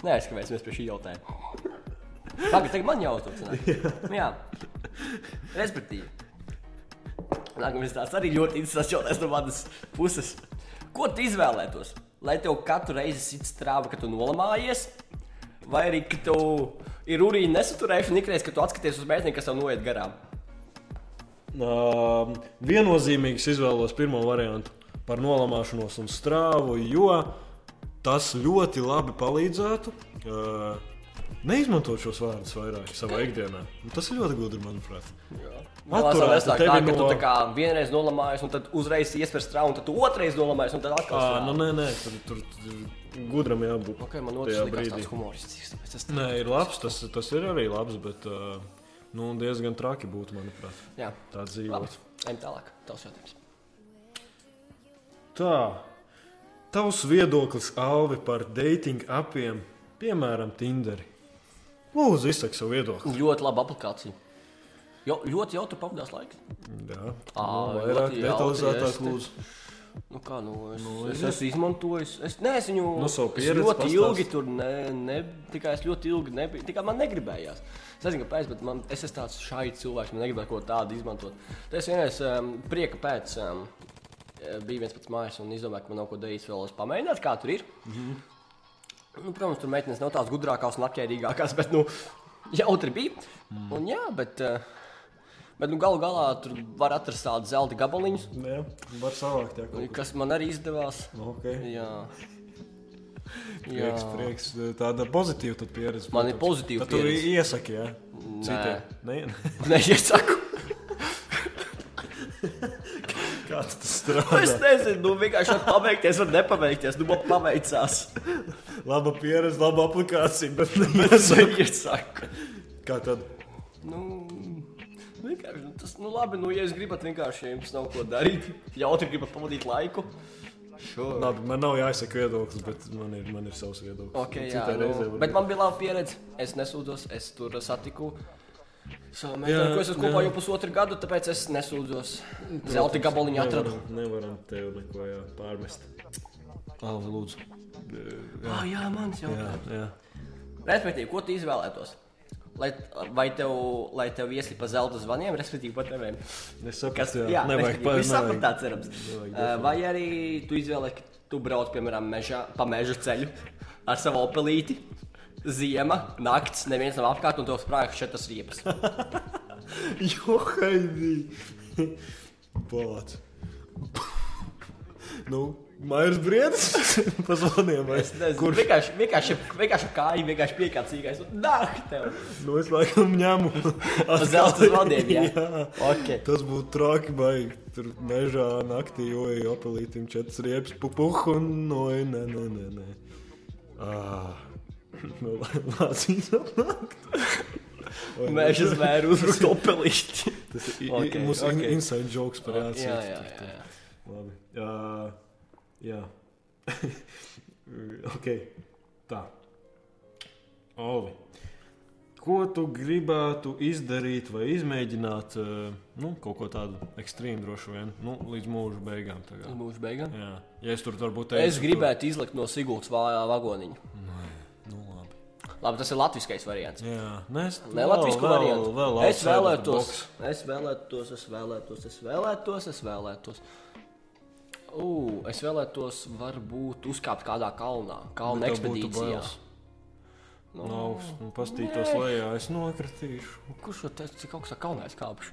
A: Nē, es kavēsimies pie šī jautājuma. Tagad, tagad man jautājums. nāk. Jā. Respektīvi. Nākamais tāds arī ļoti interesants jautājums no manas puses. Ko tu izvēlētos? Lai tev katru reizi sit strāva, kad tu nolamājies, vai arī, ka tev ir urīna nesaturēšana ikreiz, kad tu atskaties uz mētnieku, kas tev noiet garām?
B: Um, viennozīmīgi es izvēlos pirmo variantu par nolamāšanos un strāvu, jo tas ļoti labi palīdzētu. Uh, neizmantot šos vārdus vairāk savā ikdienā. Un tas ir ļoti gudri, manuprāt.
A: Galā
B: Atturēt,
A: sanāk Tā ir
B: tevi
A: tā, ka tu
B: no-
A: tā kā vienreiz nolamājies, un tad uzreiz iespējas strauji, un tad tu otrreiz nolamājies, un tad atkal.
B: À, nu,
A: strauji.
B: nē, nē, tur, tur, tur gudram jābūt.
A: Ok, man
B: tajā
A: otrs likās
B: brīdī.
A: tāds humoristisks. tāpēc es tā-
B: Nē, ir labs, tas, tas ir arī labs, bet uh, nu, diezgan traki būtu, manuprāt,
A: Jā,
B: tā
A: labi.
B: dzīvot.
A: Ejam tālāk. Tavs jautājums.
B: Tā, tavs viedoklis, Alvi, par dating apiem, piemēram, Tinderi. Lūdzu, izsaka savu viedokli.
A: Ļoti laba aplikācija. Jo, ļoti jautri pavadās laiks.
B: Jā,
A: Ā,
B: nu,
A: ļoti
B: vairāk
A: jautri
B: detalizētāk,
A: esi.
B: lūdzu.
A: Nu, kā, nu, es,
B: Nu,
A: nu, es
B: jā.
A: esmu izmantojis. Es nezinu,
B: No savu
A: es
B: pieredzi
A: ļoti
B: pastāsti.
A: ilgi tur ne, ne, tikai es ļoti ilgi nebiju. Tikai man negribējās. Es nezinu, kāpēc, bet man, es esmu tāds šai cilvēks. Man negribēja kaut ko tādu izmantot. Tad es vienreiz um, prieka pēc um, biju viens pats mājās un izdomāju, ka man nav ko darīt. Vēl es pamēģināšu, kā tur ir. Mm
B: Mhm.
A: -hmm. nu, protams, tur meitenes nav tās gudrākās un apģērbīgākās, bet nu, jautri bija.
B: Mhm.
A: Mm. Un, jā, bet, uh, bet nu, galu galā tur var atrast tādu zelta gabaliņu.
B: Jā, var savākt, jā, kaut ko.
A: Kas man arī izdevās.
B: Nu, Okay.
A: Jā,
B: Prieks, prieks, tāda pozitīva tad pieredze.
A: Man ir
B: protams.
A: pozitīva
B: Tad tu
A: pieredze.
B: iesaki, jā, citiem. Nē,
A: Nē, es saku,
B: kā tu tas
A: es
B: strādā?
A: nezinu, nu, vienkārši var pabeigties, var nepabeigties. Nu, man paveicās.
B: Laba pieredze, laba aplikācija, bet
A: Es
B: neiesaku.
A: saku,
B: Kā tad?
A: nu, vienkārši nu, tas, nu, labi, nu, ja jūs gribat vienkārši, ja jums nav ko darīt, jautri gribat pavadīt laiku. Nu, Sure.
B: Labi, man nav jāizsaka viedoklis, bet man ir, man ir savs viedoklis.
A: Okay, jā,
B: Citai reizei
A: nu,
B: varbūt.
A: bet man bija laba pieredze. Es nesūdzos, es tur satiku. Savu
B: Jā,
A: meiteni, ko es esmu kopā
B: jā.
A: jau pusotru gadu, tāpēc es nesūdzos. Zelta gabaliņu atradu.
B: Nevaram, nevaram tev neko jā, pārmest. Alvi, lūdzu. Jā,
A: Ah, jā, mans jau.
B: jā, jā.
A: Respektīvi, ko tu izvēlētos? Lai, vai tev, lai tev iesi pa zelta zvaniem, respektīvi pa teviem?
B: Es saprotu,
A: Kas,
B: jā,
A: jā,
B: nevajag
A: pārspēt. Es saprotu,
B: nevajag.
A: tā cerams.
B: nevajag
A: Eh, Vai arī tu izvēlējies, ka tu brauc, piemēram, mežā, pa meža ceļu ar savu opelīti. Ziema, naktis, neviens nav apkārt, un tev sprāga šķetas riepas.
B: Johaidī! Palāc! Nu, Maijas briedis! Pazvanīja, vai
A: Es nezinu, Kurš? Vienkārši, vienkārši, vienkārši ap kāju, vienkārši piekācīgais. Nāk, tev!
B: Nu, es laikam ņemu.
A: Pa zelta zvaniem, jā.
B: jā.
A: Ok.
B: Tas būtu traki, vai tur mežā naktī joja apelītim četras riepas, pupuhu un noja. Nē, nē, nē. nē. Ah, nu, Lācīs apnākt.
A: Meža zvēru uzrukt opelīti.
B: Tas ir i-
A: Ok,
B: i- mūsu in-
A: ok.
B: inside joks par
A: Jā, jā, jā.
B: Lāciju.
A: jā.
B: Labi. Uh, jā. ok. Tā. Olvi. Ko tu gribētu izdarīt vai izmēģināt? eh, Nu, kaut ko tādu ekstrēmu droši vien. Nu, līdz mūža beigām. tā kā.
A: Mūžu beigām.
B: Jā, ja es tur varbūt teicu.
A: Es gribētu izlikt no Sigūdas vā- vagoniņa.
B: Tur... Nu, labi.
A: Labi, tas ir latviskais variants.
B: Jā, nē, es
A: Ne latviešu
B: vēl-
A: variantu.
B: Vēl, vēl
A: es
B: outside of the
A: vēlētos,
B: box.
A: es vēlētos, es vēlētos, es vēlētos, es vēlētos. Ugh, es vēlētos, varbūt, uzkāpt kādā kalnā, kalna
B: Bet tev būtu
A: ekspedīcijā.
B: bailes.
A: Nu,
B: No augšas, nu, pastītos
A: nē.
B: lejā, es nokritīšu.
A: Nu, Kurš to teica, cik augstā kalnā es kāpšu?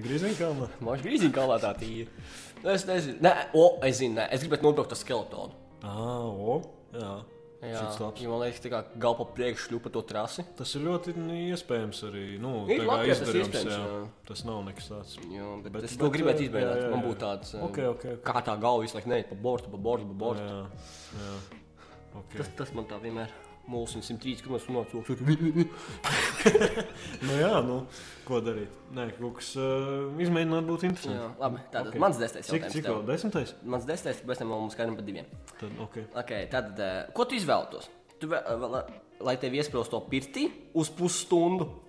B: Grīziņkalnā.
A: Man ir grīzīga kalnā tā tīra. Nu, Es nezinu, nē, o, es zinu, nē, es gribētu nobraukt ar skeletonu.
B: Ah, o, jā.
A: Jā,
B: Šis labs.
A: ja man liekas, tā kā galva priekšļu pa to trasi.
B: Tas ir ļoti iespējams arī. Nu,
A: Ir
B: tā kā
A: Latvijā tas
B: izdarījums,
A: iespējams,
B: jā.
A: jā.
B: Tas nav nekas tāds.
A: Jā, bet,
B: Bet-
A: bet es
B: bet,
A: to gribētu
B: jā, jā,
A: izmēģināt.
B: jā,
A: Man
B: jā.
A: būtu tāds, um,
B: Ok, ok, ok.
A: kā tā galva visu laiku neiet pa bortu, pa bortu, pa bortu.
B: Jā, jā. Okay.
A: Tas, tas man tā vienmēr mūsu 103 km/h.
B: Nu, jā, nu, ko darīt? Nē, kaut kas uh, izmēģināt būtu interesanti.
A: Tātad
B: Ok.
A: okay. mans desmitais
B: Cik,
A: jautājums.
B: cik vēl?
A: tev.
B: Desmitais?
A: Mans desmitais, pēc tam mums skaidrs par diviem.
B: Tad, ok.
A: Okay, tad, eh, ko tu izvēlētos? Tu, vē- eh, vēl- lai tev iesprūst to pirtī uz pusstundu.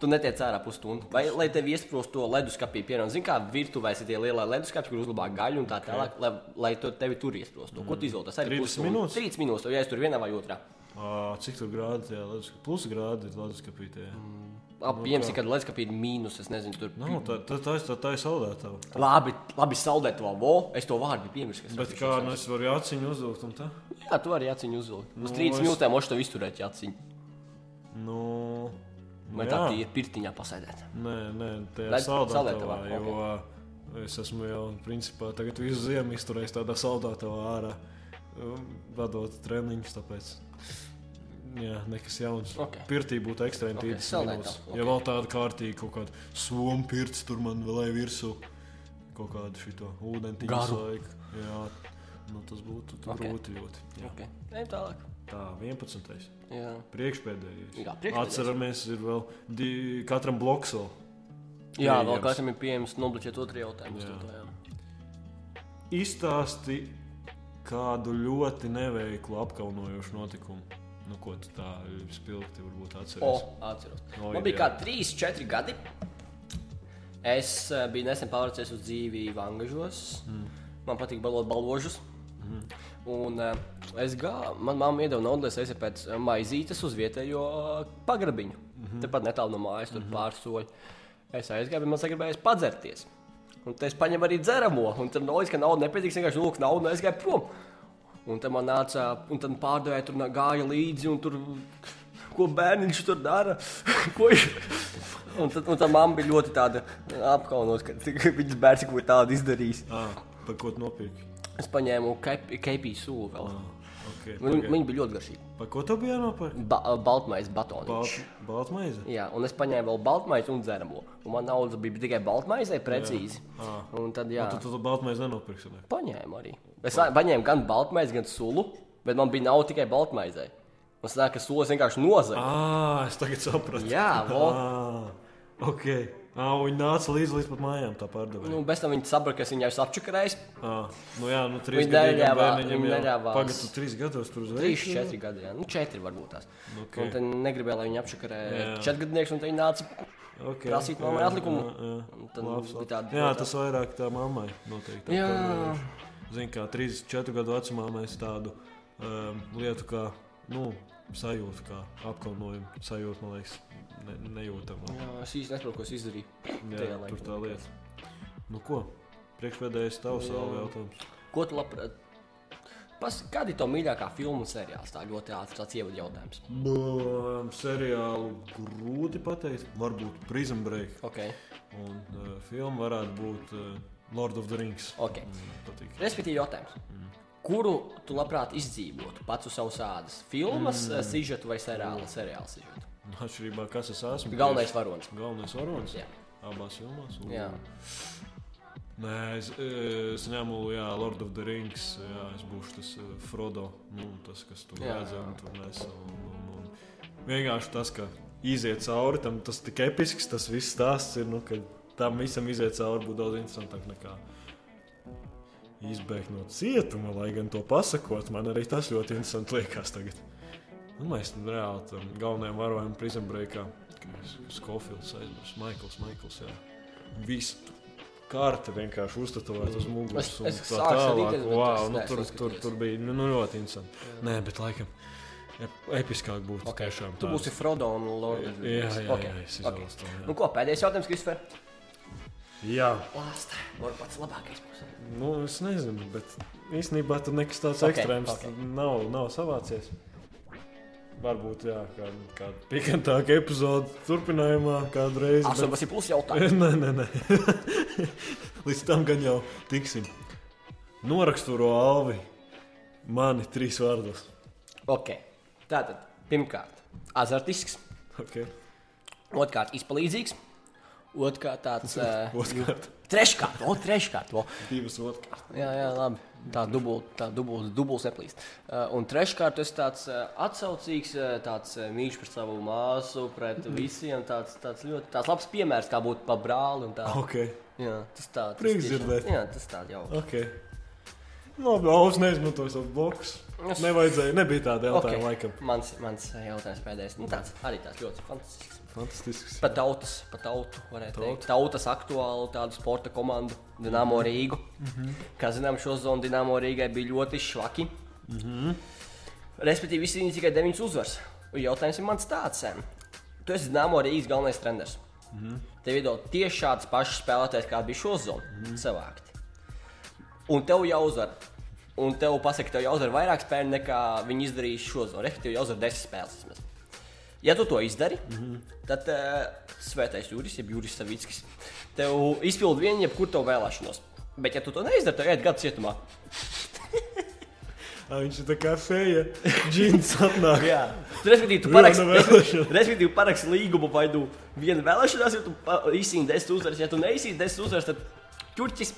A: Tu netiec ārā pusstundu. Vai lai tev iesprūst to leduskapī, piemēram, zini, kā virtuvēs ir tie lielie leduskapi, kur uzlabā gaļu un tā tālāk, lai, lai to tevi tur iesprūst. Mm. Ko tu izvēlētos? Arī
B: 30
A: pusstundu.
B: minūtes?
A: 30 minūtes, vai ja es tur vienā vai otrā.
B: Uh, cik tur grādi tajā leduskapī? Plus grādi leduskapītē. Mm.
A: Ap, Piemēram, kad leduskapī ir mīnus, es nezinu, tur.
B: Nu, tā, tā, tā, tā, tā ir saldētā.
A: Labi, labi saldēt to vo, es to vārdu biju piemirsis.
B: Bet kā, nu, es varu jāciņu uzvilkt un tā?
A: Jā, tu vari jāciņu uzvilkt. Uz
B: Nu,
A: 30
B: es-
A: minūtēm mošu tev izturēt jāciņu.
B: Nu,
A: Vai
B: nu,
A: tā
B: jā.
A: ir pirtiņā pasēdēt?
B: Nē, nē, tajā
A: Bet
B: saldētavā,
A: saldētavā,
B: jo es esmu jau, principā, tagad visu ziemu izturējis tādā saldētavā ārā, um, vadot treniņus, tāpēc Jā, nekas jauns.
A: Ok.
B: Pirtī būtu ekstrēms.
A: Ok,
B: Okay,
A: vēl nedaudz,
B: Ja vēl tāda kārtīga, kaut kāda somu pirts, tur man vēl ir virsū kaut kāda šito ūdentiņa
A: Garu.
B: laika. Jā, nu, tas būtu tur
A: Ok.
B: grūti ļoti. Jā.
A: Okay. Ejam tālāk.
B: Tā, 11.
A: Jā.
B: Priekšpēdējais.
A: Jā, priekšpēdējais.
B: Atceramies, ir vēl di, katram bloks. vēl.
A: Jā,
B: Pieejams.
A: vēl kādam ir pieejams nobloķēt otru jautājumu. uz
B: Jā.
A: to, Jā.
B: Izstāsti kādu ļoti neveiklu apkaunojošu notikumu. Nu, ko tu tā spilgti varbūt
A: O,
B: atceries?
A: atceros.
B: No,
A: Man
B: jā.
A: bija kā 3, 4 gadi. Es eh, biju nesen pārcēlies uz dzīvību Angažos. Mm. Man patīk balot balvožus. Mm. Un eh, es gāju, man mamma iedeva naudu, lai es aizietu pēc eh, maizītes uz vietējo eh, pagrabiņu. Mm -hmm. Tepat netālu no mājas, tur mm -hmm. pārsoļi. Es aizgāju, bet man sagribējās padzerties. Un te es paņēmu arī dzeramo, un tur noiz, ka nauda nepietiks, vienkārši lūk, naudu un aizgāju prom. Un tad man nāca, un tad pārdevēja tur nā- gāja līdzi, un tur, ko bērniņš tur dara. Ko viņš- un tad, un tad mamma bija ļoti tāda apkaunot, ka tik- viņas bērns kaut ko tādu izdarīs.
B: Ah, par ko tu nopirki?
A: Es paņēmu kepiju sūlu vēl.
B: Okay,
A: Viņa,
B: pagaid.
A: viņa bija ļoti garšīga.
B: Par ko tu biji nopirkts?
A: Ba, baltmaiz batoniņš.
B: Balt, baltmaize.
A: Jā, un es paņēmu vēl baltmaizi un dzeramo. Un man nauda bija tikai baltmaizē, precīzi.
B: Ā.
A: Un tad, jā,
B: Tu to baltmaizi nenopirksi. Ne?
A: Paņēmu arī. Es a- paņēmu gan baltmaizi, gan sulu, bet man bija nauda tikai baltmaizē. Man sanāk, ka sulas vienkārši nozaga.
B: Ah, es tagad sapratu.
A: Jā, vo.
B: ah, ok. Ah, viņa nāca līdz, līdz pat mājām, tā pārdevēja.
A: Nu, bez tam viņi saprata, ka es viņu esmu apčakarējis.
B: Ah, nu jā, nu trīs
A: Viņa
B: gadiem
A: neļāvā-
B: bērniņam
A: viņa
B: jau
A: neļāvās.
B: pagaidu trīs gados tur uzreiz.
A: 3, 4 gadi, jā. nu 4 varbūt tās.
B: Nu, Ok.
A: Okay. Un tad negribēja, lai viņi apčakarē
B: Jā.
A: 4 gadnieks, un tad viņi nāca.
B: okay.
A: prasīt mammai atlikumu. Un tad
B: Labs,
A: bija
B: labs.
A: tāda-
B: jā, tas vairāk tā mammai noteikti.
A: Jā.
B: Ziniet, kā 34 gadu vecumā mēs tādu um, lietu kā nu, sajūtu, kā apkaunojumu sajūtu, man liekas, ne, nejūtam.
A: Jā, "Nu, es īsti nesaprotu, ko es izdarīju.
B: Jā,
A: tajā laikā.
B: tur tā lieta. Nu ko? Priekšpēdējais tavs vēl jautājums.
A: Ko tu labprāt? Pas, kāda ir tā mīļākā filmu seriāls? Tā ļoti ātrs tāds ievadu jautājums.
B: No, seriālu grūti pateikt. Varbūt Prison Break.
A: Ok.
B: Un uh, filma varētu būt uh, Lord of the Rings.
A: okay.
B: Man patīk.
A: Respektīvi, jautājums. Kuru tu labprāt izdzīvotu pats uz savas ādas? Filmas, mm. sižetu vai seriāla? Seriāla sižetu.
B: Un Atšķirībā, kas es esmu.
A: Galvenais varonis.
B: tieši galvenais varonis.
A: Jā.
B: Abās filmās. Un-
A: Jā.
B: Nē, es, e, es ņemu, jā, Lord of the Rings. Jā, es būšu tas e, Frodo. Nu, tas, kas tur
A: Jā.
B: redzams, un tur nes. Un, un, un. Vienkārši tas, ka iziet cauri tam, tas tik episks, tas viss stāsts ir. Nu, ka tam visam iziet cauri būtu daudz interesantāk nekā. Izbēgt no cietuma, lai gan to pasakot, man arī tas ļoti interesanti liekas tagad. Nu, mēs tam reāli tam galvenajam varonim Prison Breakā. Skofils aizmirst, Maikls, Maikls, jā. Visu kārta vienkārši uztatavot uz muguras.
A: Es-
B: un
A: es
B: tā
A: sāku
B: tālāk.
A: skatīties, bet
B: Vau,
A: es
B: nu,
A: neesmu
B: tur, tur,
A: skatījies.
B: tur bija nu, nu, ļoti interesanti. Nē, bet laikam ep- episkāk būtu
A: Ok.
B: okay. tiešām.
A: Tu būsi Frodo un Lorda.
B: Jā, jā, jā, jā, es
A: okay.
B: izvēlos to, jā.
A: Nu, ko pēdējais jautājums, Kristofer?
B: Jā,
A: Lāsta. Varbūt pats labākais būs.
B: nu es nezinu, bet īstenībā tur nekas tāds
A: Ok,
B: okay, ekstrēms
A: ok.
B: okay. nav, nav savācies. Varbūt, jā, kāda kā pikantāka epizode turpinājumā kādreiz. bet-
A: 18 plus jautājums.
B: Nē, nē, nē. Līdz tam gan jau tiksim. Noraksturo Alvi mani trīs vārdos.
A: Ok. Tātad, pirmkārt, azartisks,
B: Okay.
A: otrkārt, izpalīdzīgs, otrkārt, tāds. eh,
B: Otrkārt,
A: Treškārt, o, treškārt, o.
B: divas otrkārt.
A: Jā, jā, labi. Tā dubultā, tā dubultā, dubultā neplīst. Uh, un treškārt, es tāds uh, atsaucīgs, uh, tāds uh, mīļš pret savu māsu, pret visiem. Tāds, tāds ļoti tāds labs piemērs, kā būt pa brāli. un Tā.
B: Ok.
A: Jā, tas tāds
B: Oh. Prieks dzirdēt.
A: Jā, tas tāds jau.
B: okay. Labi, Alvis neizmantoja savus blokus.
A: Es-
B: Nevajadzēja, nebija tāda jautājuma okay. laikam.
A: Mans, mans eh, jautājums pēdējais. Nu, tāds arī tāds ļoti fantastisks.
B: Fantastisks.
A: Pat tautas, pat tautu, varētu teikt. Tautas aktuālu tādu sporta komandu, Dienāmo Rīgu. Mm -hmm. Kā zinām, šo zonu Dienāmo Rīgai bija ļoti švaki. Mm -hmm. Respektīvi, visi viņi tikai 9 uzvaras. Un Jautājums ir mans tāds. em, Tu esi Dienāmo Rīgas galvenais treneris. Mm -hmm. Tev ir dots tieši tāds pašs spēlētājs, kā bija šo zonu mm -hmm. savākt. Un tev jāuzvar. Un tev pasaka, ka tev jāuzvar vairāk spēļu nekā viņi izdarīja šo zonu. Respektīvi, jāuzvar 10 spēles. vismaz. Ja tu to izdari, mm -hmm. tad uh, svētais jūris, jeb jūris savickis, tev izpild vienu jebkuru tavu vēlēšanos. Bet, ja tu to neizdari, tad iet gadu cietumā.
B: Ā, Viņš ir tā kā feja. Džins atnāk.
A: Jā, Respektīvi, tu
B: Vienu
A: paraksti,
B: vēlēšanu.
A: respektīvi, paraksti līgumu vai nu vienu vēlēšanās, ja tu pa- izsīni desmit uzvaras. Ja tu neizsīni desmit uzvaras, tad ķurķis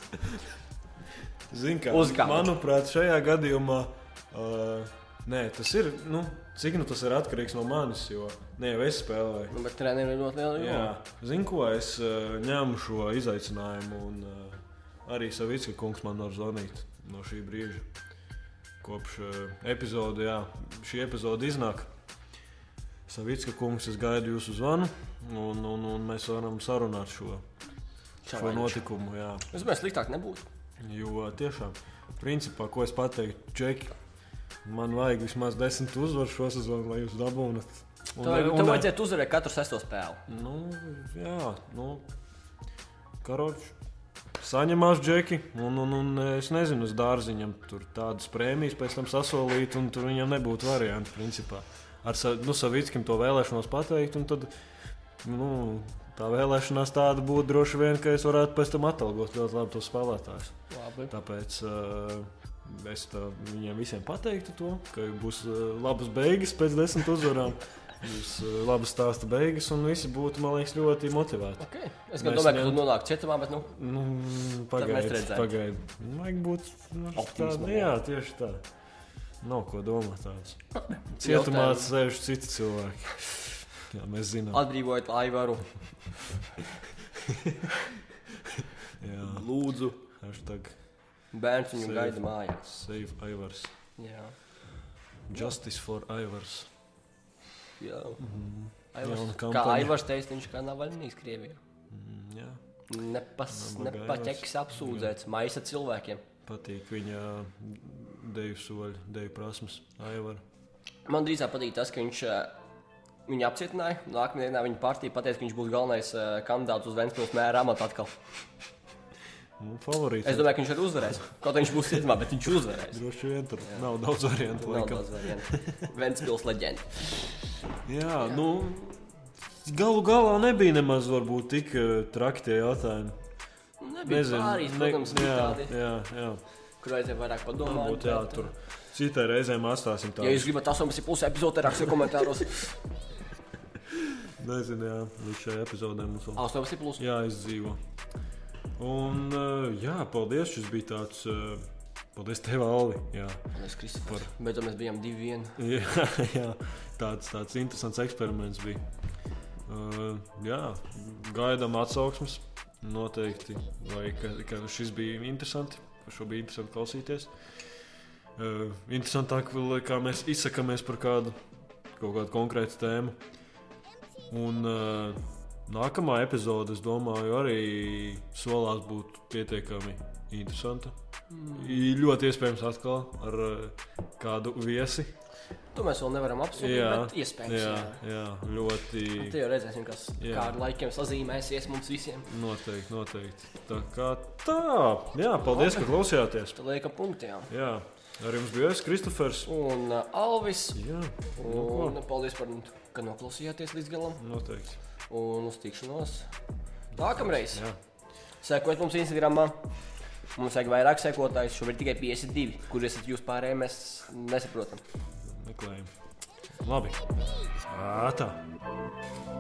B: Zini, kā,
A: Uz kāda?
B: manuprāt, šajā gadījumā uh, nē, tas ir. Nu, cik nu tas ir atkarīgs no manis, jo ne jau es spēlēju.
A: Nu, Bet trenerim ir ļoti liela
B: Jā,
A: loma.
B: zinu, ko es uh, ņēmu šo izaicinājumu. Un, uh, arī Savicka kungs man var zvanīt no šī brīža. Kopš uh, epizode, jā, šī epizode iznāk. Savicka kungs, es gaidu jūsu zvanu, un, un, un mēs varam sarunāt šo, šo
A: Čalaiņš.
B: notikumu. Jā.
A: Es domāju, sliktāk nebūtu.
B: Jo tiešām, principā, ko es pateiktu, Čeki, man vajag vismaz desmit uzvaru šo sezonu, lai jūs dabūnat. Un-
A: Tev vajag-
B: un-
A: tev vajadzētu uzvarēt katru sesto spēli.
B: Nu, jā, nu, karoči. Saņemās džeki, un, un, un es nezinu, uz dārziņam tur tādas prēmijas pēc tam sasolīt, un tur viņam nebūtu variantu, principā. Ar sa- nu, Savickim to vēlēšanos pateikt, un tad, nu, tā vēlēšanās tāda būtu droši vien, ka es varētu pēc tam atalgot ļoti labi tos spēlētājus.
A: Labi.
B: Tāpēc uh, es tā viņiem visiem pateiktu to, ka būs uh, labas beigas pēc desmit uzvarām. Būs uh, labas stāsta beigas, un visi būtu, man liekas, ļoti motivēti.
A: Okay. Es gan
B: Mēs
A: domāju, ka tu
B: ņemt-
A: nonāksi cietumā, bet nu,
B: Nu,
A: mēs
B: Pagaidiet,
A: redzētu.
B: pagaidiet. Vajag būt nu,
A: Optimismam,
B: tādam, jā, tieši tā. Nav ko domāt tāds. Cietumā
A: Jautājums.
B: sēž citi cilvēki. Jā, mēs zinām.
A: atbrīvojiet Aivaru.
B: Jā,
A: Lūdzu,
B: hashtag
A: bērns viņu
B: Sevi.
A: gaida mājās.
B: save Ivars.
A: Jā,
B: Justice for Ivars.
A: jā.
B: Mm,
A: Aivars,
B: Jauna
A: kā
B: kampaņa.
A: Aivars teica, viņš kā navaļnīs Krievijā.
B: mm, jā.
A: Nepas,
B: Nabaga
A: nepaķeks apsūdzēts, maisa cilvēkiem.
B: Patīk viņa mm, deju soļi, deju prasmes, aivara.
A: Man drīzāk patīk tas, ka viņš ā, viņu apcietināja. Nākamajā dienā viņa partija pateica, ka viņš būs galvenais ā, kandidāts uz Vēnspils mēra amatu atkal.
B: Nu, favorīts.
A: Es domāju, ka viņš arī uzvarēs. Kaut arī viņš būs cietumā, bet viņš uzvarēs.
B: Droši vien tur jā. nav daudz variantu.
A: Nav
B: laikam.
A: daudz variantu. Vēnspils leģenda.
B: Jā, jā, nu, galu galā nebija nemaz varbūt tik eh, traki tie jautājumi.
A: Nebija pāris,
B: ne-
A: protams,
B: jā,
A: ne,
B: jā, jā.
A: kur aizvien vairāk padomāt.
B: Varbūt jā, tur citai reizēm atstāsim
A: Ja jūs
B: tādu.
A: gribat 18,5 epizodē, rakstiet komentāros.
B: Nezinu, jā, līdz šai epizodē mums vēl
A: 18,5.
B: jāizdzīvo. Un, eh, jā, paldies, šis bija tāds, eh, paldies tev, Alvi. Jā.
A: Mēs Kristofers. Bet mēs bijām 2-1.
B: Jā, jā. Tāds, tāds interesants eksperiments bija. Uh, jā, gaidām atsauksmes. Noteikti. Vai ka, ka šis bija interesants. Šo bija interesanti klausīties. Uh, interesantāk, vēl, kā mēs izsakāmies par kādu, kaut kādu konkrētu tēmu. Un uh, nākamā epizode, es domāju, arī solās būt pietiekami interesanta. I- Ļoti iespējams, atkal ar uh, kādu viesi.
A: To mēs vēl nevaram apsūdzēt,
B: Jā,
A: bet iespējams.
B: Jā,
A: Jā.
B: jā
A: Nu,
B: ļoti
A: Te jau redzēsim, kas
B: Jā.
A: kā ar laikiem sazīmēsies mums visiem.
B: noteikti, noteikti. Tā kā tā, jā, paldies, ka klausījāties.
A: Tad liekam punktiem.
B: Jā, ar jums bija es, Kristofers.
A: Un uh, Alvis.
B: Jā, nu
A: Un
B: ko,
A: paldies par ka noklausījāties līdz galam.
B: noteikti.
A: Un uz tikšanos nākamreiz.
B: Jā,
A: Sekojiet mums Instagram. Mums vajag vairāk sekotāju. Šobrīd tikai 52. Kur esat jūs pārējie? Mēs nesaprotam.
B: meklējam. Labi. Ā, Tā.